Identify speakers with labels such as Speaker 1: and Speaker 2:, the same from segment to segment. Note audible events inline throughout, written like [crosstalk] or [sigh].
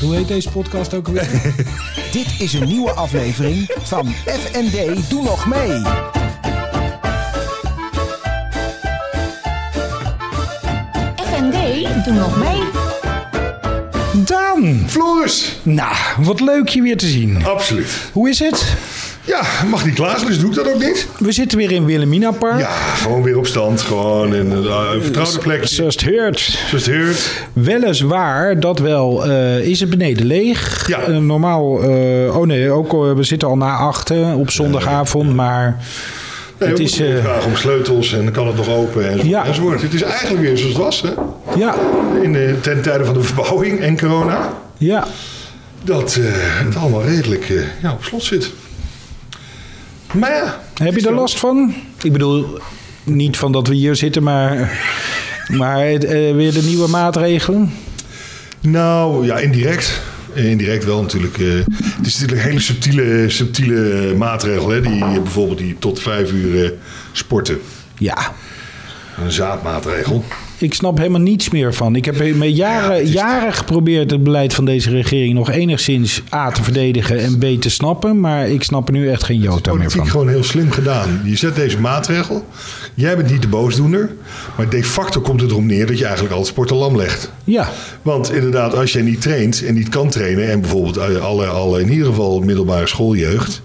Speaker 1: Hoe heet deze podcast ook alweer?
Speaker 2: Dit is een nieuwe aflevering van FND Doe Nog Mee.
Speaker 3: FND, doe nog mee.
Speaker 1: [laughs] Daan!
Speaker 4: Floris!
Speaker 1: Nou, wat leuk je weer te zien.
Speaker 4: Absoluut.
Speaker 1: Hoe is het?
Speaker 4: Ja, mag niet klagen, dus doe ik dat ook niet.
Speaker 1: We zitten weer in Wilhelmina Park.
Speaker 4: Ja, gewoon weer op stand. Gewoon in een eh, vertrouwde plek. Zoals
Speaker 1: Zoals het heurt.
Speaker 4: het heurt.
Speaker 1: Weliswaar, dat wel, eh, is het beneden leeg.
Speaker 4: Ja.
Speaker 1: Eh, normaal, eh, oh nee, ook, eh, we zitten al na achten op zondagavond, maar
Speaker 4: Nee,
Speaker 1: het
Speaker 4: we
Speaker 1: is...
Speaker 4: moeten
Speaker 1: eh,
Speaker 4: weer vragen om sleutels en dan kan het nog open en zo,
Speaker 1: Ja.
Speaker 4: enzovoort. Het is eigenlijk weer zoals het was hè?
Speaker 1: ja,
Speaker 4: In de, ten tijde van de verbouwing en corona.
Speaker 1: ja,
Speaker 4: Dat eh, het allemaal redelijk eh, ja, op slot zit. Maar ja.
Speaker 1: heb je er last van? Ik bedoel, niet van dat we hier zitten, maar, maar het, eh, weer de nieuwe maatregelen.
Speaker 4: Nou ja, indirect. Eh, Indirect wel natuurlijk. eh, het is natuurlijk een hele subtiele, subtiele maatregel. Hè? Die eh, bijvoorbeeld die tot vijf uur eh, sporten.
Speaker 1: Ja,
Speaker 4: Een zaadmaatregel.
Speaker 1: Ik snap helemaal niets meer van. Ik heb me
Speaker 4: Ja,
Speaker 1: jaren,
Speaker 4: het is-
Speaker 1: jaren geprobeerd het beleid van deze regering nog enigszins A te verdedigen en B te snappen. Maar ik snap er nu echt geen jota meer
Speaker 4: Politiek
Speaker 1: van.
Speaker 4: gewoon heel slim gedaan. Je zet deze maatregel. Jij bent niet de boosdoener. Maar de facto komt het erom neer dat je eigenlijk al het sporten lam legt.
Speaker 1: Ja,
Speaker 4: Want inderdaad, als jij niet traint en niet kan trainen. En bijvoorbeeld eh, alle, alle in ieder geval middelbare schooljeugd.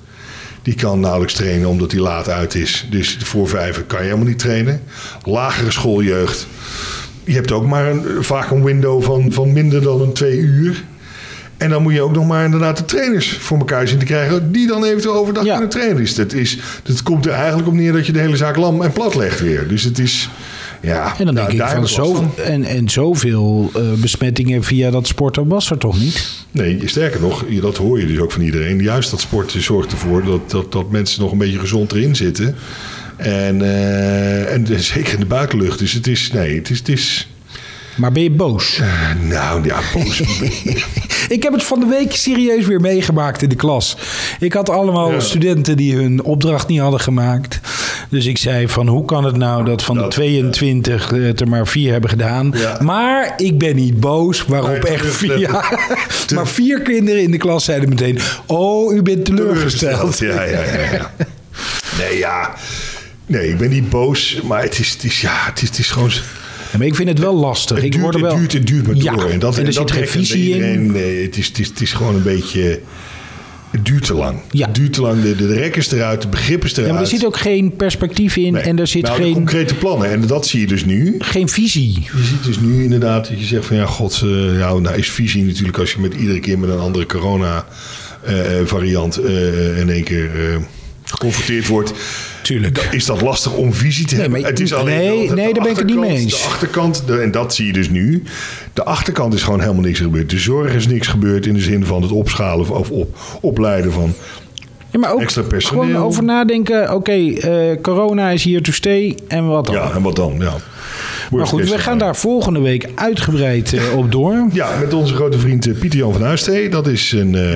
Speaker 4: Die kan nauwelijks trainen omdat die laat uit is. Dus voor vijven kan je helemaal niet trainen. Lagere schooljeugd. Je hebt ook maar een, vaak een window van, van minder dan een twee uur. En dan moet je ook nog maar inderdaad de trainers voor elkaar zien te krijgen. Die dan eventueel overdag
Speaker 1: Ja.
Speaker 4: kunnen trainen. Dus dat, is, dat komt er eigenlijk op neer dat je de hele zaak lam en plat legt weer. Dus het is... Ja,
Speaker 1: en dan
Speaker 4: nou,
Speaker 1: denk ik
Speaker 4: daar
Speaker 1: van
Speaker 4: heb last
Speaker 1: zo, En, en zoveel eh, besmettingen via dat sporten was er toch niet?
Speaker 4: Nee, sterker nog, je- dat hoor je dus ook van iedereen. Juist dat sport zorgt ervoor dat, dat, dat mensen nog een beetje gezond erin zitten. En, eh, en de- [laughs] zeker in de buitenlucht. Dus het is, nee, het is, het is
Speaker 1: Maar ben je boos?
Speaker 4: eh, nou ja, boos.
Speaker 1: [laughs] Ik heb het van de week serieus weer meegemaakt in de klas. Ik had allemaal
Speaker 4: Ja.
Speaker 1: studenten die hun opdracht niet hadden gemaakt. Dus ik zei van hoe kan het nou dat van de
Speaker 4: Dat,
Speaker 1: 22 het er maar vier hebben gedaan.
Speaker 4: Ja.
Speaker 1: Maar ik ben niet boos. Waarop
Speaker 4: Nee, [laughs]
Speaker 1: echt vier.
Speaker 4: teleurgesteld.
Speaker 1: Ja. [laughs] maar vier kinderen in de klas zeiden meteen. Oh, u bent teleurgesteld.
Speaker 4: Ja, ja, ja, ja. Nee, ja. Nee, ik ben niet boos, maar het is, het is, ja, het is, het is gewoon...
Speaker 1: Ja, Maar ik vind het wel lastig.
Speaker 4: Het
Speaker 1: ik
Speaker 4: duurt,
Speaker 1: word er wel...
Speaker 4: het duurt, het duurt maar
Speaker 1: Ja,
Speaker 4: door. En, dat,
Speaker 1: en er zit
Speaker 4: dat
Speaker 1: geen
Speaker 4: merkt bij
Speaker 1: visie in.
Speaker 4: iedereen. Nee, het is, het, is, het is gewoon een beetje... Het duurt te lang.
Speaker 1: Ja.
Speaker 4: Het duurt te lang. De, de, de rek is eruit, de begrip is eruit.
Speaker 1: Ja, maar er zit ook geen perspectief in.
Speaker 4: Nee.
Speaker 1: En er zit
Speaker 4: Nou, de
Speaker 1: geen,
Speaker 4: concrete plannen. En dat zie je dus nu.
Speaker 1: geen visie.
Speaker 4: Je ziet dus nu inderdaad dat je zegt van ja, god, eh, nou, nou is visie natuurlijk als je met iedere keer met een andere corona-variant in één keer eh, geconfronteerd wordt.
Speaker 1: Tuurlijk.
Speaker 4: Dan Is dat lastig om visie te
Speaker 1: Nee,
Speaker 4: hebben?
Speaker 1: maar-
Speaker 4: het is alleen
Speaker 1: nee,
Speaker 4: wel dat
Speaker 1: nee,
Speaker 4: de
Speaker 1: daar ben ik het niet mee
Speaker 4: achterkant-
Speaker 1: eens.
Speaker 4: De achterkant, de- en dat zie je dus nu. De achterkant is gewoon helemaal niks gebeurd. De zorg is niks gebeurd in de zin van het opschalen of op, opleiden van.
Speaker 1: Ja, maar ook
Speaker 4: Extra personeel.
Speaker 1: gewoon over nadenken. Oké, eh, corona is hier to stay en wat dan?
Speaker 4: Ja, en wat dan? Ja.
Speaker 1: maar goed, we gaan daar volgende week uitgebreid eh, op door.
Speaker 4: Ja, met onze grote vriend eh, Pieter Jan van Huistee. Dat is een eh,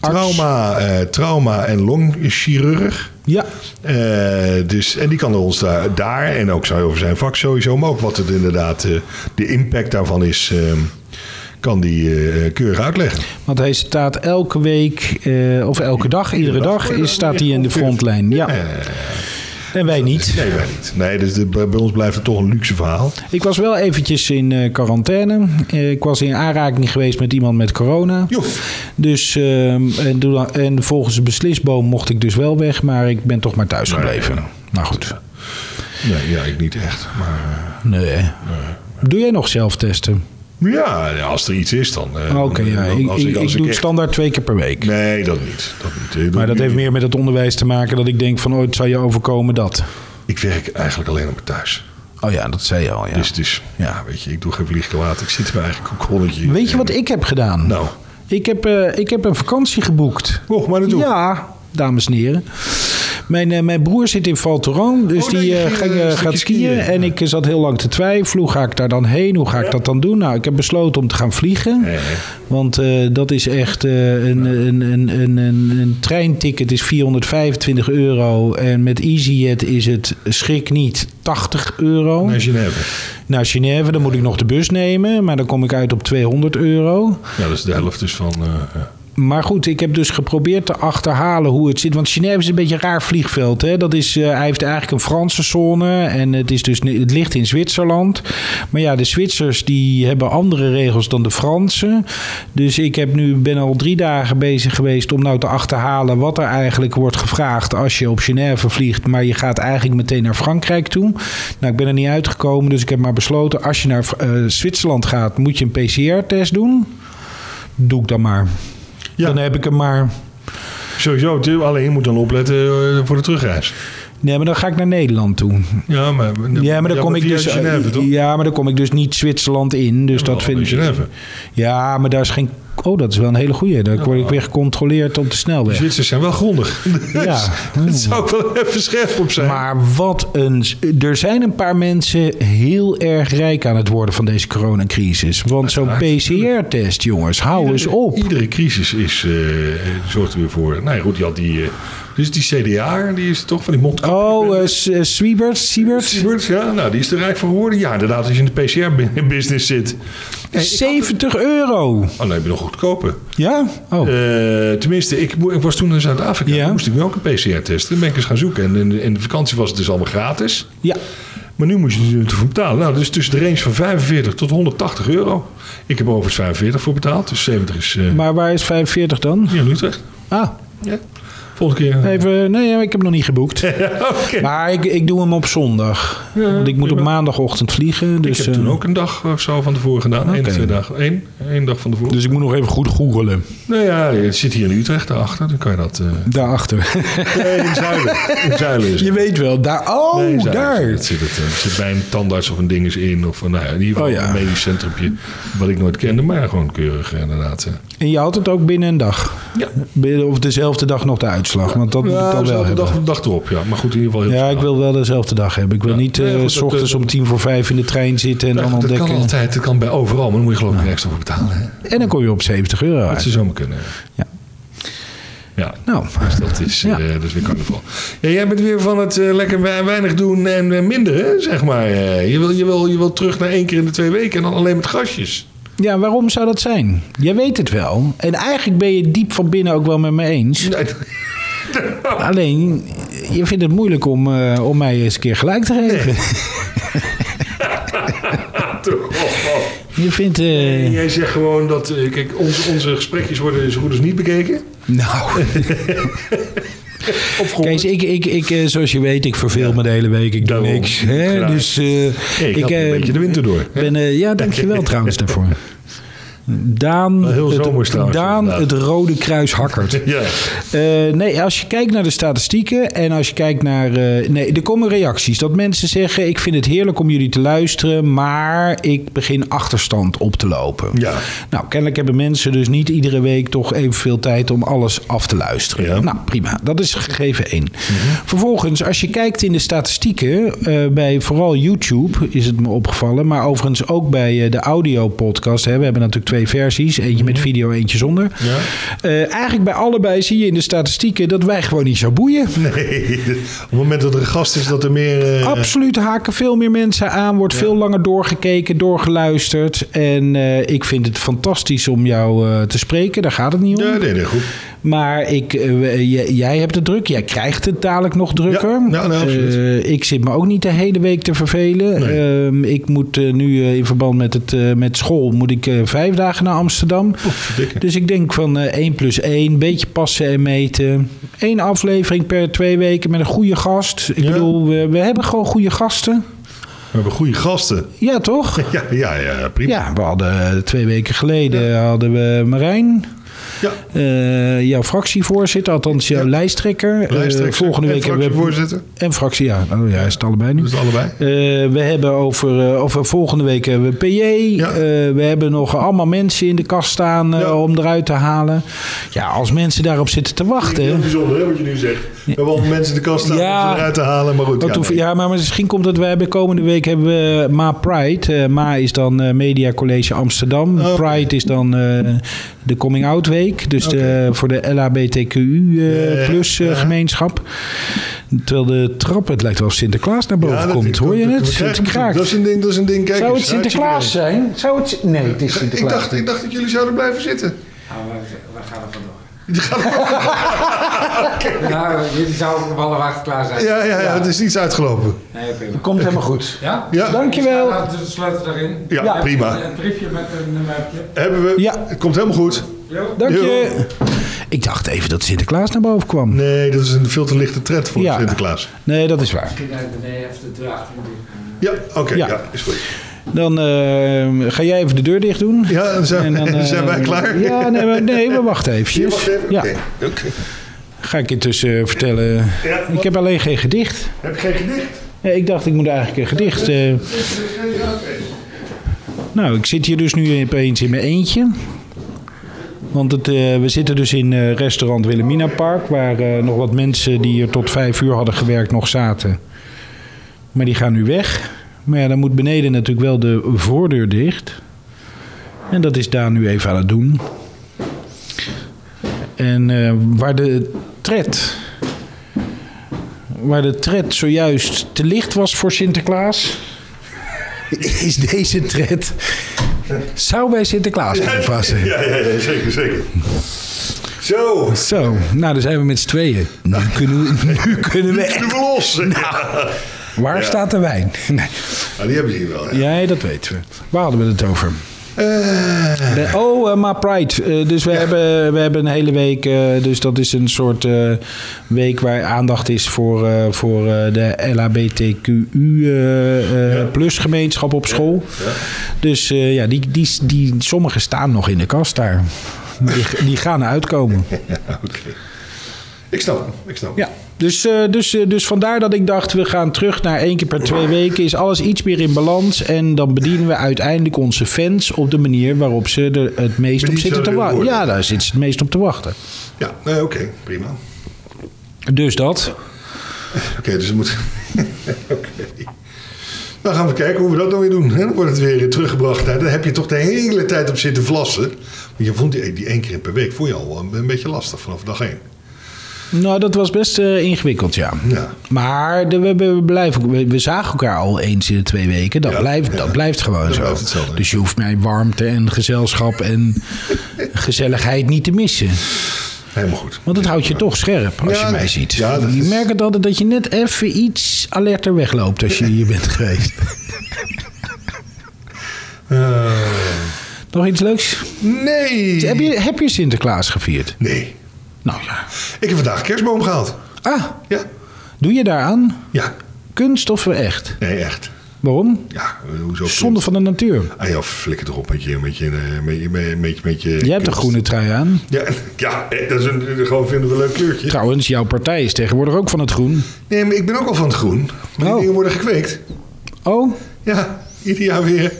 Speaker 4: trauma, eh, trauma- en longchirurg.
Speaker 1: Ja,
Speaker 4: Eh, dus, en die kan ons daar, daar en ook zou over zijn vak sowieso, maar ook wat het inderdaad, eh, de impact daarvan is, ehm, kan die eh, keurig uitleggen.
Speaker 1: want hij staat elke week, eh, of elke dag, iedere dag, is, staat hij in de frontlijn. Ja. En wij niet.
Speaker 4: Nee, wij niet. Nee, dus de- bij ons blijft het toch een luxe verhaal.
Speaker 1: Ik was wel eventjes in eh, quarantaine. Eh, ik was in aanraking geweest met iemand met corona.
Speaker 4: Jo.
Speaker 1: Dus, ehm, en, doe dan- en volgens de beslisboom mocht ik dus wel weg, maar ik ben toch maar thuis gebleven. Nou goed.
Speaker 4: Nee, ja, ik niet echt. Maar,
Speaker 1: Nee. Doe jij nog zelf testen?
Speaker 4: eh, ja, als er iets is dan. eh,
Speaker 1: Oké, ja.
Speaker 4: dan-
Speaker 1: Ik,
Speaker 4: als
Speaker 1: ik, ik
Speaker 4: als
Speaker 1: doe het
Speaker 4: echt-
Speaker 1: standaard twee keer per week.
Speaker 4: Nee, dat niet. Dat niet. Ik doe
Speaker 1: Maar
Speaker 4: het
Speaker 1: dat
Speaker 4: nu
Speaker 1: heeft
Speaker 4: niet.
Speaker 1: meer met het onderwijs te maken dat ik denk van ooit zal je overkomen dat.
Speaker 4: Ik werk eigenlijk alleen op thuis.
Speaker 1: Oh ja, dat zei je al, ja.
Speaker 4: Dus, dus ja, weet je, ik doe geen vliegkwaad. Ik zit bij eigen kokonnetje.
Speaker 1: Weet je wat ik heb gedaan?
Speaker 4: Nou.
Speaker 1: Ik heb, eh, ik heb een vakantie geboekt.
Speaker 4: Och, maar dat doe ik.
Speaker 1: Ja, dames en heren. Mijn, eh, mijn broer zit in Val Thorens, dus
Speaker 4: Oh, nee,
Speaker 1: die
Speaker 4: je
Speaker 1: eh,
Speaker 4: ging,
Speaker 1: ging,
Speaker 4: eh,
Speaker 1: eh,
Speaker 4: een
Speaker 1: gaat
Speaker 4: stukje
Speaker 1: skiën.
Speaker 4: skiën.
Speaker 1: En ik eh, zat heel lang te twijfelen, hoe ga ik daar dan heen? Hoe ga ik dat dan doen? Nou, ik heb besloten om te gaan vliegen.
Speaker 4: Ja, ja.
Speaker 1: Want eh, dat is echt eh, een, een, een, een, een, een treinticket is 425 euro. En met EasyJet is het schrik niet 80 euro.
Speaker 4: Naar Genève.
Speaker 1: Naar Genève, dan moet ik nog de bus nemen. Maar dan kom ik uit op 200 euro.
Speaker 4: Ja, dat is de helft dus van... eh, ja.
Speaker 1: Maar goed, ik heb dus geprobeerd te achterhalen hoe het zit. Want Genève is een beetje een raar vliegveld. Hè? Dat is, eh, hij heeft eigenlijk een Franse zone. En het, is dus, ni- het ligt in Zwitserland. Maar ja, de Zwitsers die hebben andere regels dan de Fransen. Dus ik heb nu, ben al drie dagen bezig geweest om nou te achterhalen... wat er eigenlijk wordt gevraagd als je op Genève vliegt. Maar je gaat eigenlijk meteen naar Frankrijk toe. Nou, ik ben er niet uitgekomen. Dus ik heb maar besloten, als je naar eh, Zwitserland gaat... moet je een PCR-test doen. Doe ik dan maar.
Speaker 4: Ja.
Speaker 1: Dan heb ik hem maar.
Speaker 4: Sowieso, tu- alleen je moet dan opletten eh, voor de terugreis.
Speaker 1: Nee, maar dan ga ik naar Nederland toe.
Speaker 4: Ja, maar,
Speaker 1: Ja, maar dan kom ik
Speaker 4: via
Speaker 1: dus.
Speaker 4: Genève, toch?
Speaker 1: ja, maar dan kom ik dus niet Zwitserland in. Dus dat vind ik.
Speaker 4: Genève.
Speaker 1: Ja, maar daar is geen. Oh, dat is wel een hele goeie. Dan word ik weer gecontroleerd op de
Speaker 4: De
Speaker 1: snelweg.
Speaker 4: Zwitsers zijn wel grondig. [laughs]
Speaker 1: Ja.
Speaker 4: dat zou ik wel even scherp op zijn.
Speaker 1: Maar wat een. Er zijn een paar mensen heel erg rijk aan het worden van deze coronacrisis. Want zo'n PCR-test, jongens, hou eens op.
Speaker 4: Iedere crisis is, eh, zorgt er weer voor. Nou ja, goed, je had die. eh, dus die CDA, die is toch van die mondkapje.
Speaker 1: Oh, eh, S- eh, Swiebert, Siebert.
Speaker 4: Siebert, ja, nou, die is er rijk van geworden. Ja, inderdaad, als je in de PCR-business zit. Nee, ik-
Speaker 1: 70 euro.
Speaker 4: Oh, dan heb je nog goedkoper.
Speaker 1: Ja? Oh.
Speaker 4: Eh, tenminste, ik, mo- ik was toen in Zuid-Afrika.
Speaker 1: Ja.
Speaker 4: Toen moest ik me ook een PCR testen. Dan ben ik eens gaan zoeken. En in, de- in de vakantie was het dus allemaal gratis.
Speaker 1: Ja.
Speaker 4: Maar nu moet je er natuurlijk voor betalen. Nou, dus tussen de range van 45 tot 180 euro. Ik heb er overigens 45 voor betaald. Dus 70 is eh
Speaker 1: Maar waar is 45 dan?
Speaker 4: hier in Utrecht.
Speaker 1: Ah.
Speaker 4: Ja. Volgende keer. [laughs]
Speaker 1: Even, nee, ik heb hem nog niet geboekt.
Speaker 4: Oké.
Speaker 1: Maar ik, ik doe hem op zondag. want ik moet op maandagochtend vliegen.
Speaker 4: Ik
Speaker 1: Dus,
Speaker 4: heb
Speaker 1: eh,
Speaker 4: toen ook een dag of zo van tevoren gedaan. Eén of twee dagen. Eén, één dag van tevoren.
Speaker 1: dus ik moet nog even goed googelen.
Speaker 4: Nou ja, het zit hier in Utrecht daarachter. Dan kan je dat... eh [laughs]
Speaker 1: Daarachter.
Speaker 4: Nee, in Zuilen. [laughs] In Zuilen is het.
Speaker 1: Je weet wel, daar. Oh,
Speaker 4: Nee, in Zuilen
Speaker 1: daar.
Speaker 4: Zit het, zit, het, eh, zit bij een tandarts of een ding is in. Of eh, nou ja, in ieder geval
Speaker 1: Oh ja.
Speaker 4: een medisch centrumpje. Wat ik nooit kende, maar gewoon keurig eh, inderdaad. eh.
Speaker 1: En je houdt het ook binnen een dag.
Speaker 4: Ja.
Speaker 1: Binnen- Of dezelfde dag nog de uitslag. Want dat moet ik dan
Speaker 4: dezelfde
Speaker 1: wel hebben.
Speaker 4: dag, dag erop, ja. Maar goed, in ieder geval...
Speaker 1: Ja,
Speaker 4: heel snel.
Speaker 1: ik wil wel dezelfde dag hebben. Ik wil niet eh
Speaker 4: Nee, goed,
Speaker 1: s
Speaker 4: dat-
Speaker 1: ochtends
Speaker 4: dat-
Speaker 1: om tien voor vijf in de trein zitten en
Speaker 4: Ja,
Speaker 1: dan
Speaker 4: goed, dat kan
Speaker 1: ontdekken.
Speaker 4: altijd, dat kan bij overal, maar dan moet je geloof ik extra voor betalen. Hè?
Speaker 1: En dan kom je op 70 euro
Speaker 4: Dat
Speaker 1: uit.
Speaker 4: ze zomaar kunnen.
Speaker 1: Ja.
Speaker 4: Ja,
Speaker 1: Nou,
Speaker 4: dus dat is,
Speaker 1: Ja.
Speaker 4: eh, dus weer carnaval. Ja, jij bent weer van het eh, lekker wei- weinig doen en eh, minder, hè, zeg maar. eh. je, wil, je, wil, je wil terug naar één keer in de twee weken en dan alleen met gastjes.
Speaker 1: ja, waarom zou dat zijn? Jij weet het wel. En eigenlijk ben je diep van binnen ook wel met me eens.
Speaker 4: Nee, [laughs]
Speaker 1: Alleen, je vindt het moeilijk om, eh, om mij eens een keer gelijk te geven.
Speaker 4: toch, oh, oh.
Speaker 1: [laughs] Je vindt... eh,
Speaker 4: Jij zegt gewoon dat, eh, kijk, onze, onze gesprekjes worden
Speaker 5: dus-
Speaker 4: zo goed als niet bekeken.
Speaker 1: Nou,
Speaker 4: Of gewoon...
Speaker 1: Kees, ik, ik, ik, eh, zoals je weet, ik verveel me de hele week. Ik doe
Speaker 4: Daarom.
Speaker 1: niks. Hè?
Speaker 4: Graag.
Speaker 1: Dus eh,
Speaker 4: ik had
Speaker 1: eh,
Speaker 4: een beetje de winter door. hè.
Speaker 1: ben, eh,
Speaker 4: [laughs]
Speaker 1: ja, dankjewel trouwens daarvoor. Daan,
Speaker 4: Wel heel zomers
Speaker 1: het,
Speaker 4: trouwens,
Speaker 1: Daan
Speaker 4: inderdaad.
Speaker 1: het Rode Kruis hakkert.
Speaker 4: [laughs]
Speaker 5: [laughs]
Speaker 4: Ja,
Speaker 1: Eh, nee, als je kijkt naar de statistieken en als je kijkt naar. eh, nee, er komen reacties. Dat mensen zeggen: Ik vind het heerlijk om jullie te luisteren, maar ik begin achterstand op te lopen.
Speaker 4: Ja.
Speaker 1: Nou, kennelijk hebben mensen dus niet iedere week toch evenveel tijd om alles af te luisteren.
Speaker 4: Ja.
Speaker 1: Nou, prima. Dat is gegeven één. Vervolgens, als je kijkt in de statistieken, eh, bij vooral YouTube is het me opgevallen, maar overigens ook bij eh, de audio-podcast. Hè, we hebben natuurlijk twee versies: eentje met video, eentje zonder.
Speaker 4: Mhm. Ja.
Speaker 1: Eh, eigenlijk bij allebei zie je in de statistieken dat wij gewoon niet zo boeien.
Speaker 4: nee. Op het moment dat er een gast is, dat er meer...
Speaker 1: Oh.
Speaker 4: eh,
Speaker 1: Absoluut haken veel meer mensen aan. Wordt veel langer doorgekeken, doorgeluisterd. En eh, ik vind het fantastisch om jou eh, te spreken. Daar gaat het niet om.
Speaker 4: Ja, nee, nee, goed.
Speaker 1: Maar ik, eh, we- eh, jij- jij hebt het druk. Jij krijgt het dadelijk nog drukker.
Speaker 4: ja, nee, absoluut.
Speaker 1: Eh, ik zit me ook niet de hele week te vervelen. Ehm, ik moet eh, nu eh, in verband met, het, eh, met school moet ik, eh, vijf dagen naar Amsterdam.
Speaker 4: verdikke.
Speaker 1: dus ik denk van eh 1 plus 1, beetje passen en meten. Eén aflevering per twee weken met een goede gast. Ik
Speaker 4: Ja.
Speaker 1: bedoel, we, we hebben gewoon goede gasten.
Speaker 4: We hebben goede gasten.
Speaker 5: [laughs]
Speaker 1: Ja, toch?
Speaker 4: Ja, ja, ja prima.
Speaker 1: Ja, we hadden eh, twee weken geleden hadden we Marijn.
Speaker 5: Ja.
Speaker 1: Eh, jouw fractievoorzitter, althans jouw
Speaker 5: Ja.
Speaker 1: lijsttrekker. Eh,
Speaker 5: Lijsttrekker
Speaker 1: volgende
Speaker 5: en
Speaker 1: week hebben we-
Speaker 5: fractievoorzitter.
Speaker 1: En fractie, ja. Oh ja, is het allebei nu.
Speaker 5: Dus allebei.
Speaker 1: Eh, we hebben over, eh, of eh, volgende week hebben we PJ. Eh, we hebben nog allemaal mensen in de kast staan eh,
Speaker 5: Ja.
Speaker 1: om eruit te halen. Ja, als mensen daarop zitten te wachten.
Speaker 5: Heel bijzonder hè, wat je nu zegt. We hebben allemaal mensen in de kast staan
Speaker 1: Ja.
Speaker 5: om ze eruit te halen. Maar goed,
Speaker 1: Dat
Speaker 5: ja,
Speaker 1: hoeft-
Speaker 5: nee.
Speaker 1: ja, maar misschien komt het. We hebben komende week hebben we Ma Pride. Eh, Ma is dan eh, Media College Amsterdam.
Speaker 5: Oh.
Speaker 1: Pride is dan eh, de Coming Out Week. Dus de, voor de LHBTQ eh,
Speaker 5: Ja,
Speaker 1: plus eh,
Speaker 5: ja.
Speaker 1: gemeenschap. Terwijl de trap, het lijkt wel of Sinterklaas naar boven
Speaker 5: Ja, dat-
Speaker 1: komt. Hoor je
Speaker 5: dat-
Speaker 1: het?
Speaker 5: dat-
Speaker 1: Het kraakt.
Speaker 5: Dat is een ding, dat is een ding. Kijk
Speaker 1: Zou het
Speaker 5: eens,
Speaker 1: Sinterklaas
Speaker 5: hartstikke
Speaker 1: zijn? Zou het, nee, het is
Speaker 5: leuk. Ik
Speaker 1: Sinterklaas.
Speaker 5: dacht, ik dacht dat jullie zouden blijven zitten.
Speaker 3: Nou, waar- waar gaan we vandoor? [laughs] Nou, jullie zouden wel wacht klaar zijn.
Speaker 5: Ja, ja, ja, het is niets uitgelopen.
Speaker 3: Nee, prima.
Speaker 1: Komt helemaal goed.
Speaker 3: Ja?
Speaker 5: Ja,
Speaker 1: Dankjewel.
Speaker 3: Laten we de sleutel erin.
Speaker 5: ja,
Speaker 1: Ja.
Speaker 5: prima.
Speaker 3: Een briefje met een nummertje.
Speaker 5: Hebben we,
Speaker 1: Ja.
Speaker 5: Het komt helemaal goed.
Speaker 3: Jo.
Speaker 1: Dank je.
Speaker 5: Jo.
Speaker 1: Ik dacht even dat Sinterklaas naar boven kwam. Nee,
Speaker 5: Nee, dat is een veel te lichte tred voor
Speaker 1: Ja.
Speaker 5: Sinterklaas.
Speaker 1: dat is waar.
Speaker 3: Misschien uit beneden even de deur achter jullie.
Speaker 5: Ja, oké,
Speaker 1: Ja.
Speaker 5: ja. is goed.
Speaker 1: Dan eh, ga jij even de deur dicht doen.
Speaker 5: Ja, dan zijn,
Speaker 1: En dan, eh,
Speaker 5: [laughs] zijn wij klaar.
Speaker 1: Ja, nee, maar- nee we wachten
Speaker 5: Je
Speaker 1: eventjes.
Speaker 5: mag even?
Speaker 1: Ja,
Speaker 5: Oké, oké.
Speaker 1: ga ik intussen eh, vertellen.
Speaker 5: Ja,
Speaker 1: Ik
Speaker 5: wat-
Speaker 1: heb alleen geen gedicht.
Speaker 5: Heb je geen gedicht?
Speaker 1: Ja, ik dacht, ik moet eigenlijk een gedicht. eh.
Speaker 5: Ja, oké.
Speaker 1: nou, ik zit hier dus nu opeens in mijn eentje. Want het, eh, we zitten dus in eh, restaurant Wilhelmina Park, waar eh, nog wat mensen die hier tot vijf uur hadden gewerkt nog zaten. Maar die gaan nu weg. Maar ja, dan moet beneden natuurlijk wel de voordeur dicht. En dat is Daan nu even aan het doen. En eh, waar de tred. Waar de tred zojuist te licht was voor Sinterklaas. [laughs] Is deze tred. Zou bij Sinterklaas kunnen passen.
Speaker 5: Ja, ja, ja, zeker, zeker. Zo,
Speaker 1: Zo, nou, dan zijn we met z'n tweeën. Nu kunnen we. [laughs] Nu kunnen we
Speaker 5: nu [laughs]
Speaker 1: echt-
Speaker 5: we los.
Speaker 1: Nou. Waar staat de wijn? [laughs] Nee.
Speaker 5: Nou, die hebben ze hier wel. hè.
Speaker 1: Ja, dat weten we. Waar hadden we het over?
Speaker 5: Eh,
Speaker 1: De- oh, eh, maar Pride. Eh, dus we, hebben, we hebben een hele week. eh, dus dat is een soort eh, week waar aandacht is voor, eh, voor eh, de LHBTQU eh, eh, plus gemeenschap op school. Dus eh, ja, die, die, die, sommige staan nog in de kast daar. Die, die gaan uitkomen.
Speaker 5: ik snap hem, ik snap hem.
Speaker 1: Ja, dus, eh, dus, eh, dus vandaar dat ik dacht, we gaan terug naar één keer per twee weken. Is alles iets meer in balans. En dan bedienen we uiteindelijk onze fans op de manier waarop ze er het meest op
Speaker 5: Bediend
Speaker 1: zitten te
Speaker 5: zouden
Speaker 1: wachten.
Speaker 5: worden.
Speaker 1: Ja, daar zitten ze het meest op te wachten.
Speaker 5: Ja, nee, oké, prima. Oké,
Speaker 1: Dus dat.
Speaker 5: dus we moeten... [laughs] oké. Dan gaan we kijken hoe we dat nou weer doen. hè. Dan wordt het weer teruggebracht. Nou, daar heb je toch de hele tijd op zitten vlassen. Want je vond die, die één keer per week vond je al een, een beetje lastig vanaf dag één.
Speaker 1: Nou, dat was best eh, ingewikkeld, ja.
Speaker 5: Ja.
Speaker 1: Maar de- we, we, blijven, we, we zagen elkaar al eens in de twee weken. Dat,
Speaker 5: Ja,
Speaker 1: blijft,
Speaker 5: ja.
Speaker 1: dat blijft gewoon
Speaker 5: Dat
Speaker 1: zo.
Speaker 5: blijft hetzelfde.
Speaker 1: dus je hoeft mij warmte en gezelschap en
Speaker 5: [laughs]
Speaker 1: gezelligheid niet te missen.
Speaker 5: Helemaal goed.
Speaker 1: Want het houdt je toch scherp als
Speaker 5: Ja,
Speaker 1: je mij
Speaker 5: nee.
Speaker 1: ziet.
Speaker 5: Ja, dat
Speaker 1: je
Speaker 5: is-
Speaker 1: merkt het altijd dat je net even iets alerter wegloopt als je hier bent
Speaker 5: [laughs]
Speaker 1: geweest.
Speaker 5: Eh,
Speaker 1: Nog iets leuks?
Speaker 5: nee.
Speaker 1: Heb je, heb je Sinterklaas gevierd?
Speaker 5: Nee.
Speaker 1: Nou ja.
Speaker 5: Ik heb vandaag een kerstboom gehaald.
Speaker 1: Ah,
Speaker 5: Ja.
Speaker 1: doe je daaraan?
Speaker 5: Ja.
Speaker 1: Kunst of echt?
Speaker 5: Nee, echt.
Speaker 1: Waarom?
Speaker 5: Ja, hoezo?
Speaker 1: Zonde van de natuur.
Speaker 5: Ah ja, flikker erop met je... Met je, eh, met je, met je, met je, met je
Speaker 1: Jij hebt een
Speaker 5: kunst.
Speaker 1: groene trui aan.
Speaker 5: Ja, [laughs] ja, eh, dat is een, gewoon vinden we een leuk kleurtje.
Speaker 1: Trouwens, jouw partij is tegenwoordig ook van het groen.
Speaker 5: Nee, maar ik ben ook al van het groen. Die
Speaker 1: Oh.
Speaker 5: dingen worden gekweekt.
Speaker 1: Oh,
Speaker 5: Ja, ieder jaar weer.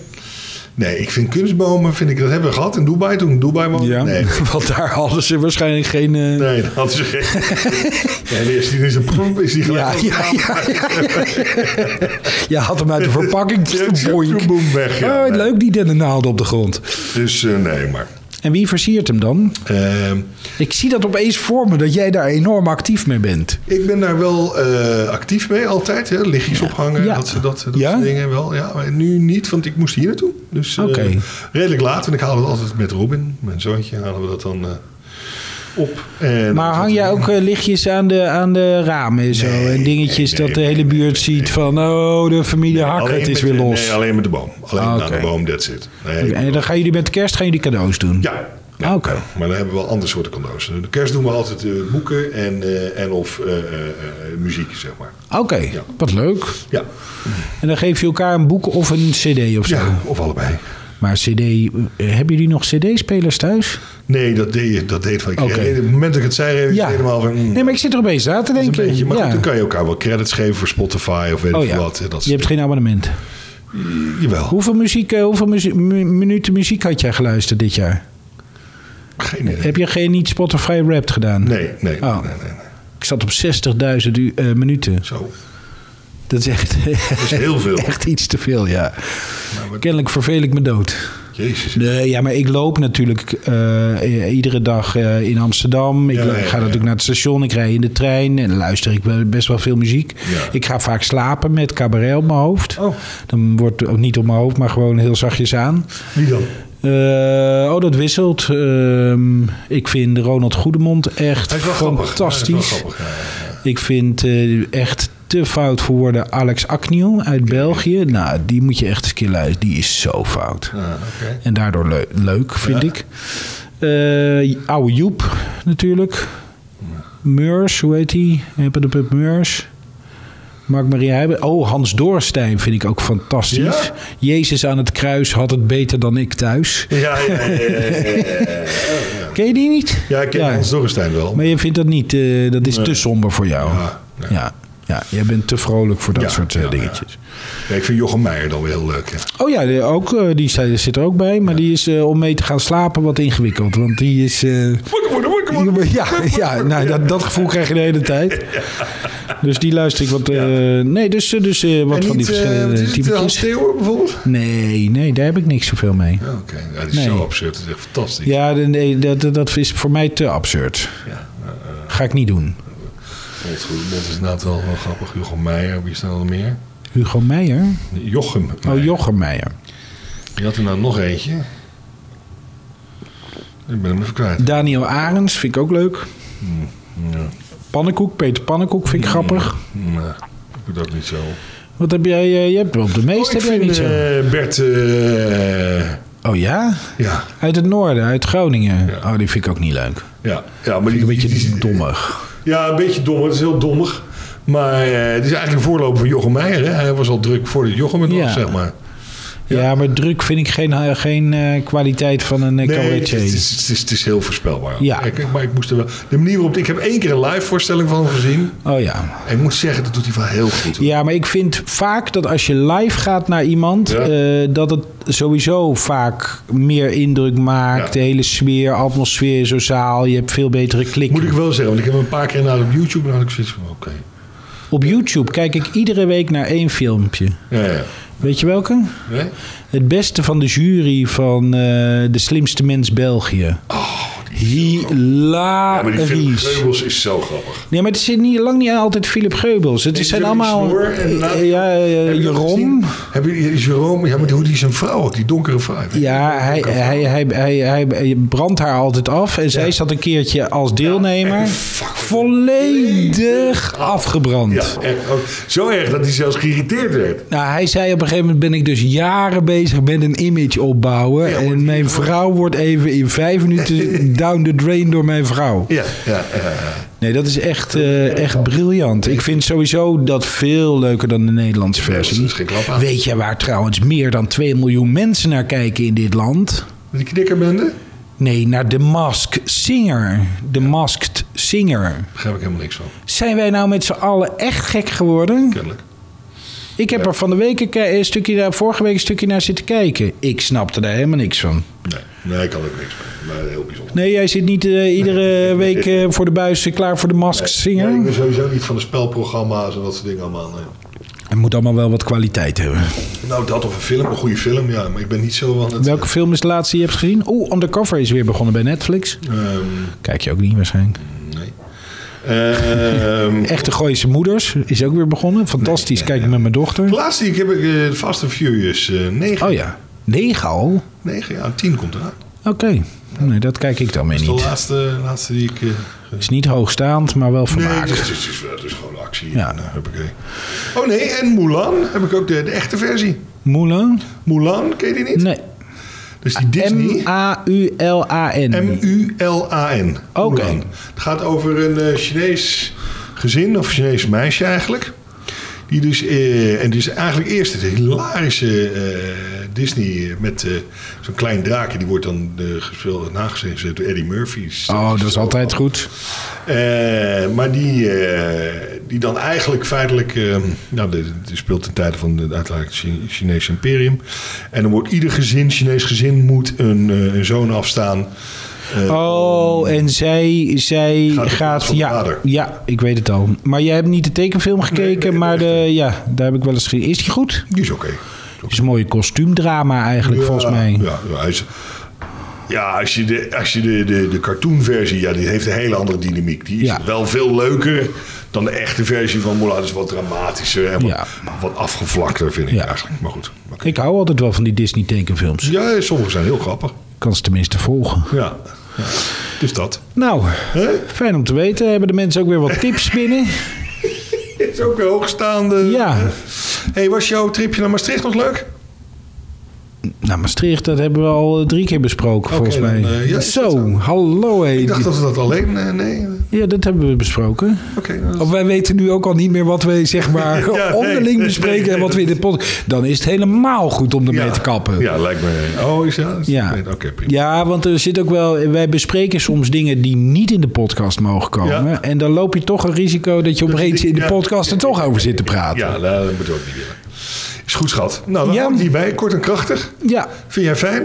Speaker 5: Nee, ik vind kunstbomen, vind ik, dat hebben we gehad in Dubai toen ik in Dubai woonde.
Speaker 1: ja. [laughs]
Speaker 5: [laughs] Nee,
Speaker 1: Want daar hadden ze waarschijnlijk geen... eh,
Speaker 5: nee, dat hadden ze geen.
Speaker 1: [laughs]
Speaker 5: ja, die is die, is, een- is die
Speaker 1: Ja,
Speaker 5: gelijk.
Speaker 1: ja, ja, ja. [laughs] Je had hem uit de verpakking.
Speaker 5: Ja,
Speaker 1: Boink.
Speaker 5: boem, weg, ja.
Speaker 1: oh, leuk, die dennennaalden op de grond.
Speaker 5: Dus eh, nee, maar.
Speaker 1: En wie versiert hem dan?
Speaker 5: ehm,
Speaker 1: Ik zie dat opeens voor me, dat jij daar enorm actief mee bent.
Speaker 5: ik ben daar wel eh, actief mee altijd. Hè? Lichtjes ophangen,
Speaker 1: Ja.
Speaker 5: dat, dat, dat soort
Speaker 1: Ja?
Speaker 5: dingen wel. Ja, maar nu niet, want ik moest hier naartoe. Dus eh,
Speaker 1: Oké.
Speaker 5: redelijk laat. En ik haal het altijd met Robin, mijn zoontje, halen we dat dan eh, op. En
Speaker 1: Maar hang jij ook eh, lichtjes aan de, aan de ramen en zo?
Speaker 5: Nee,
Speaker 1: en dingetjes
Speaker 5: nee, nee,
Speaker 1: dat de
Speaker 5: nee,
Speaker 1: hele
Speaker 5: nee,
Speaker 1: buurt
Speaker 5: nee,
Speaker 1: ziet van... Oh, de familie Hakker,
Speaker 5: Alleen
Speaker 1: het is
Speaker 5: met
Speaker 1: weer
Speaker 5: de-
Speaker 1: los.
Speaker 5: Nee, alleen met de boom. Alleen
Speaker 1: Ah,
Speaker 5: naar
Speaker 1: oké.
Speaker 5: de boom, that's it. Nee, ik-
Speaker 1: en dan gaan jullie met kerst gaan jullie cadeaus doen?
Speaker 5: Ja.
Speaker 1: Ah, oké.
Speaker 5: Maar dan hebben we wel andere soorten cadeaus. De kerst doen we altijd eh, boeken en, eh, en of eh, eh, eh, muziek, zeg maar.
Speaker 1: Oké,
Speaker 5: Ja.
Speaker 1: wat leuk.
Speaker 5: Ja.
Speaker 1: En dan geef je elkaar een boek of een cd of zo?
Speaker 5: ja, of allebei.
Speaker 1: Maar CD, eh, hebben jullie nog CD-spelers thuis?
Speaker 4: Nee, dat deed, je- dat deed van. Ik
Speaker 1: Oké.
Speaker 4: reed- op het moment dat ik het zei, reed ik helemaal van. mm,
Speaker 1: Nee, maar ik zit er opeens aan te
Speaker 4: dat is
Speaker 1: denken.
Speaker 4: een beetje, maar
Speaker 1: ja.
Speaker 4: goed, dan kan je elkaar wel credits geven voor Spotify of weet
Speaker 1: Oh
Speaker 4: ik
Speaker 1: ja,
Speaker 4: wat. Dat,
Speaker 1: je hebt geen abonnement.
Speaker 4: Jawel,
Speaker 1: Hoeveel, muziek, eh, hoeveel muzie- mu- minuten muziek had jij geluisterd dit jaar?
Speaker 4: geen idee.
Speaker 1: Heb je geen niet Spotify Wrapped gedaan?
Speaker 4: Nee, nee, nee,
Speaker 1: Oh.
Speaker 4: nee, nee, nee.
Speaker 1: Ik zat op 60.000 u- eh, minuten.
Speaker 4: Zo,
Speaker 1: Dat is echt,
Speaker 4: dat is heel veel.
Speaker 1: [laughs] echt iets te veel, ja.
Speaker 4: Maar wat-
Speaker 1: Kennelijk vervel ik me dood.
Speaker 4: Jezus.
Speaker 1: Nee, ja, maar ik loop natuurlijk eh, eh, iedere dag eh, in Amsterdam. Ik
Speaker 4: Ja,
Speaker 1: lo-
Speaker 4: ja,
Speaker 1: ga
Speaker 4: ja, ja.
Speaker 1: natuurlijk naar het station, ik rij in de trein en luister ik wel- best wel veel muziek.
Speaker 4: Ja.
Speaker 1: Ik ga vaak slapen met cabaret op mijn hoofd.
Speaker 4: Oh.
Speaker 1: Dan wordt ook niet op mijn hoofd, maar gewoon heel zachtjes aan.
Speaker 4: Wie dan?
Speaker 1: Eh, oh, dat wisselt. Ehm, ik vind Ronald Goedemond echt
Speaker 4: Hij is wel grappig. Ja, hij is wel
Speaker 1: fantastisch.
Speaker 4: grappig, ja, ja.
Speaker 1: Ik vind eh, echt te fout voor woorden Alex Acniel uit België. Nou, die moet je echt eens een keer luisteren. Die is zo fout.
Speaker 4: Ah, oké.
Speaker 1: En daardoor leu- leuk, vind
Speaker 4: Ja.
Speaker 1: ik. Eh oude Joep natuurlijk. Meurs, hoe heet die? Heppedepup Meurs. Mark-Marie Heijben. Oh, Hans Doorstein vind ik ook fantastisch.
Speaker 4: Ja?
Speaker 1: Jezus aan het kruis had het beter dan ik thuis.
Speaker 4: Ja, ja, ja, ja, ja, ja.
Speaker 1: Ken je die niet?
Speaker 4: Ja, ik ken Hans Dorrestein wel.
Speaker 1: Maar je vindt dat niet, eh, dat is te somber voor jou.
Speaker 4: Ja,
Speaker 1: ja. ja. jij bent te vrolijk voor dat
Speaker 4: Ja,
Speaker 1: soort eh,
Speaker 4: ja, ja.
Speaker 1: dingetjes.
Speaker 4: Ja, ik vind Jochem Meijer dan weer heel leuk. Ja.
Speaker 1: Oh ja, de- ook, eh, die zei- zit er ook bij. Maar die is eh, om mee te gaan slapen wat ingewikkeld. Want die is... eh, Ja, ja nou, dat, dat gevoel krijg je de hele tijd. Dus die luister ik wat... eh, nee, dus, eh, dus eh, wat
Speaker 4: En
Speaker 1: van die
Speaker 4: niet, eh, wat
Speaker 1: verschillende
Speaker 4: is het,
Speaker 1: typetjes.
Speaker 4: Hans Theeuwen bijvoorbeeld?
Speaker 1: Nee, nee, daar heb ik niks zoveel mee.
Speaker 4: Ja, Oké, ja, die is
Speaker 1: Nee.
Speaker 4: zo absurd. Dat is echt fantastisch.
Speaker 1: Ja, de- nee, dat, dat- dat is voor mij te absurd.
Speaker 4: Ja, eh,
Speaker 1: Ga ik niet doen.
Speaker 4: Hans Goedemond is inderdaad wel, wel grappig. Jochem Meijer, wie is er nog meer?
Speaker 1: Hugo Meijer?
Speaker 4: Jochem Meijer.
Speaker 1: Oh, Jochem Meijer.
Speaker 4: Je had er nou nog eentje. Ik ben hem even kwijt.
Speaker 1: Daniel Arends vind ik ook leuk.
Speaker 4: Hmm, Ja.
Speaker 1: Pannenkoek, Peter Pannenkoek vind ik grappig.
Speaker 4: Nee, ik doe dat niet zo.
Speaker 1: Wat heb jij? eh, Je hebt wel de meeste, heb
Speaker 4: Oh, ik
Speaker 1: jij
Speaker 4: vind
Speaker 1: niet zo?
Speaker 4: eh, Bert... eh,
Speaker 1: Oh ja?
Speaker 4: ja,
Speaker 1: Uit het noorden, uit Groningen.
Speaker 4: Ja.
Speaker 1: Oh, die vind ik ook niet leuk.
Speaker 4: ja, ja, maar die,
Speaker 1: Een beetje
Speaker 4: die-
Speaker 1: dommig.
Speaker 4: Ja, een beetje dommer. Het is heel dommig. Maar eh, het is eigenlijk een voorloper van Jochem Meijer. Hè? Hij was al druk voordat Jochem het
Speaker 1: Ja.
Speaker 4: was, zeg maar.
Speaker 1: Ja, maar druk vind ik geen, eh, geen eh, kwaliteit van een eh,
Speaker 4: het
Speaker 1: cabaretier.
Speaker 4: is, het, is, het is- het is heel voorspelbaar.
Speaker 1: Ja.
Speaker 4: Ik, maar ik moest er wel... De manier waarop... Ik heb één keer een live voorstelling van hem gezien.
Speaker 1: Oh ja.
Speaker 4: En ik moet zeggen, dat doet hij wel heel goed. hoor.
Speaker 1: Ja, maar ik vind vaak dat als je live gaat naar iemand,
Speaker 4: Ja.
Speaker 1: eh, dat het sowieso vaak meer indruk maakt.
Speaker 4: Ja.
Speaker 1: De hele sfeer, atmosfeer in zo'n zaal. Je hebt veel betere klikken.
Speaker 4: Moet ik wel zeggen. Want ik heb hem een paar keer naar op YouTube... En dan had ik zoiets van, oké.
Speaker 1: Op YouTube kijk ik iedere week naar één filmpje.
Speaker 4: Ja, ja.
Speaker 1: Weet je welke?
Speaker 4: Nee?
Speaker 1: Het beste van de jury van eh, De Slimste Mens België.
Speaker 4: Ja, maar die Philip
Speaker 1: Hilarisch.
Speaker 4: Geubels is zo grappig.
Speaker 1: nee, maar het zijn niet, lang niet altijd Philip Geubels. Het
Speaker 4: Die
Speaker 1: zijn
Speaker 4: Philip
Speaker 1: allemaal...
Speaker 4: Snoer en laat-
Speaker 1: Eh, ja, eh,
Speaker 4: Heb je dat
Speaker 1: Jeroen.
Speaker 4: gezien? Heb je Jerome? Ja, maar hoe die zijn vrouw ook, die donkere vrouw.
Speaker 1: Ja, hij, hij, hij, hij, hij, hij brandt haar altijd af. En zij zat een keertje als deelnemer
Speaker 4: echt
Speaker 1: volledig afgebrand.
Speaker 4: Ja, echt. ook Zo erg dat hij zelfs geïrriteerd werd.
Speaker 1: Nou, hij zei op een gegeven moment ben ik dus jaren bezig met een image opbouwen.
Speaker 4: Ja, wordt
Speaker 1: en mijn vrouw wordt even in vijf minuten down the drain door mijn vrouw.
Speaker 4: Ja, ja, ja.
Speaker 1: Nee, dat is echt, eh, echt briljant. Ik vind sowieso dat veel leuker dan de Nederlandse
Speaker 4: dat
Speaker 1: versie.
Speaker 4: is geen klap aan.
Speaker 1: Weet jij waar trouwens meer dan 2 miljoen mensen naar kijken in dit land?
Speaker 4: Die knikkerbende?
Speaker 1: Nee, naar The Masked Singer. The Masked Singer.
Speaker 4: Begrijp ik helemaal niks van,
Speaker 1: Zijn wij nou met z'n allen echt gek geworden?
Speaker 4: kennelijk.
Speaker 1: Ik heb er van de week een, ke- een stukje daar, vorige week een stukje naar zitten kijken. Ik snapte daar helemaal niks van.
Speaker 4: Nee, nee, ik kan ook niks van. Maar heel bijzonder.
Speaker 1: Nee, jij zit niet eh, iedere week eh, voor de buis eh, klaar voor de Masked Singer.
Speaker 4: Nee, ik ben sowieso niet van de spelprogramma's en dat soort dingen allemaal. nee.
Speaker 1: Het moet allemaal wel wat kwaliteit hebben.
Speaker 4: Nou, dat of een film, een goede film, ja. Maar ik ben niet zo van het...
Speaker 1: Welke film is de laatste die je hebt gezien? Oeh, Undercover is weer begonnen bij Netflix.
Speaker 4: Ehm,
Speaker 1: Kijk je ook niet waarschijnlijk.
Speaker 4: nee. Ehm,
Speaker 1: Echte Gooise Moeders is ook weer begonnen. Fantastisch, kijk ik met mijn
Speaker 4: de
Speaker 1: dochter.
Speaker 4: laatste die ik heb ik eh, Fast and Furious 9.
Speaker 1: Oh ja, negen al?
Speaker 4: 9, ja. 10 komt eraan.
Speaker 1: Oké, nee, dat kijk ik dan weer
Speaker 4: Dat is de
Speaker 1: niet.
Speaker 4: laatste, laatste die ik... eh,
Speaker 1: is niet hoogstaand, maar wel
Speaker 4: Nee, het
Speaker 1: vermaak.
Speaker 4: is, het is, het is, het is gewoon actie.
Speaker 1: dus- Ja.
Speaker 4: En, eh, huppakee. oh nee, en Mulan heb ik ook de, de echte versie.
Speaker 1: Mulan?
Speaker 4: Mulan, ken je die niet?
Speaker 1: Nee.
Speaker 4: Dus die Disney.
Speaker 1: M-A-U-L-A-N.
Speaker 4: M-U-L-A-N.
Speaker 1: Oké.
Speaker 4: Mulan. Het gaat over een eh, Chinees gezin, of Chinees meisje eigenlijk.
Speaker 5: Die dus, eh, en dus eigenlijk eerst het hilarische eh, Disney met eh, zo'n klein draakje. Die wordt dan eh, gespeeld, nagezeten door Eddie Murphy.
Speaker 1: Oh, dat is altijd goed.
Speaker 5: Eh, maar die, eh, die dan eigenlijk feitelijk... eh, nou, dit dit speelt ten tijde van het uiteraard Chi- Chinese imperium. En dan wordt ieder gezin, Chinees gezin, moet een, eh, een zoon afstaan.
Speaker 1: Oh, en zij, zij
Speaker 5: Eh,
Speaker 1: gaat,
Speaker 5: Gaat op plaats van de
Speaker 1: ja,
Speaker 5: vader.
Speaker 1: ja, ik weet het al. Maar jij hebt niet de tekenfilm gekeken,
Speaker 5: nee,
Speaker 1: maar de, ja, daar heb ik wel eens gezien. Is die goed?
Speaker 5: Die is oké.
Speaker 1: Het is een mooie kostuumdrama eigenlijk,
Speaker 5: Ja,
Speaker 1: volgens mij.
Speaker 5: Ja, ja, hij is- ja, als je, de, als je de, de, de cartoonversie, ja, die heeft een hele andere dynamiek. Die is
Speaker 1: Ja.
Speaker 5: wel veel leuker dan de echte versie van Mulan. Dat is wat dramatischer en wat,
Speaker 1: Ja.
Speaker 5: wat afgevlakter, vind ik
Speaker 1: Ja.
Speaker 5: eigenlijk. Maar goed. oké.
Speaker 1: Ik hou altijd wel van die Disney tekenfilms. Ik
Speaker 5: Ja, sommige zijn heel grappig.
Speaker 1: kan ze tenminste volgen.
Speaker 5: Ja. Dus dat.
Speaker 1: Nou, fijn om te weten. Hebben de mensen ook weer wat tips binnen?
Speaker 5: Het is ook weer hoogstaande.
Speaker 1: Ja.
Speaker 5: hey, was jouw tripje naar Maastricht nog leuk?
Speaker 1: Nou, Maastricht, dat hebben we al eh, drie keer besproken,
Speaker 5: Oké,
Speaker 1: volgens mij.
Speaker 5: dan, eh, ja, is dat
Speaker 1: zo,
Speaker 5: zo?
Speaker 1: hallo hé.
Speaker 5: Ik dacht dat we dat alleen... eh, nee, oké.
Speaker 1: Ja, dat hebben we besproken.
Speaker 5: dan-
Speaker 1: Of wij weten nu ook al niet meer wat we zeg maar
Speaker 5: [laughs] Ja, nee,
Speaker 1: onderling
Speaker 5: nee,
Speaker 1: bespreken
Speaker 5: nee,
Speaker 1: en wat we in de podcast. Dan is het helemaal goed om ermee te kappen.
Speaker 5: Ja, lijkt me... Oh, is dat?
Speaker 1: Ja.
Speaker 5: Oké, prima.
Speaker 1: ja, want er zit ook wel. Wij bespreken soms dingen die niet in de podcast mogen komen.
Speaker 5: Ja.
Speaker 1: En dan loop je toch een risico dat je opeens
Speaker 5: die-
Speaker 1: in de
Speaker 5: ja.
Speaker 1: podcast er toch over zit te praten. Ja,
Speaker 5: Ja, nou, dat moet ook niet willen. Is goed, schat. Nou, dan
Speaker 1: Ja.
Speaker 5: houden we hierbij. Kort en krachtig.
Speaker 1: ja.
Speaker 5: Vind jij fijn?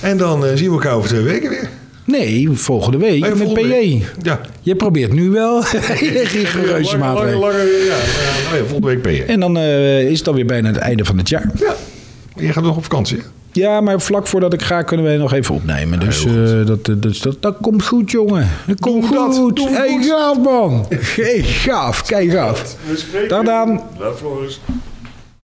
Speaker 5: En dan eh, zien we elkaar over twee weken weer.
Speaker 1: Nee, volgende week
Speaker 5: Hey,
Speaker 1: met
Speaker 5: volgende
Speaker 1: PJ.
Speaker 5: week. Ja.
Speaker 1: Je probeert nu wel [laughs] hele rigoureuze
Speaker 5: Lange, lange,
Speaker 1: maatregelen.
Speaker 5: lange, ja, eh, nou ja, volgende week ben je.
Speaker 1: En dan eh, is het alweer bijna het einde van het jaar.
Speaker 5: Ja. Je gaat nog op vakantie, hè?
Speaker 1: Ja, maar vlak voordat ik ga kunnen wij nog even opnemen. Dus eh, dat, eh, dus dat, dat komt goed, jongen. Dat komt
Speaker 5: Doe dat,
Speaker 1: goed.
Speaker 5: doe
Speaker 1: hey,
Speaker 5: goed.
Speaker 1: gaaf, man. Hey, gaaf. Kijk af.
Speaker 5: We spreken.
Speaker 1: Dag dan.
Speaker 5: Dag, Floris.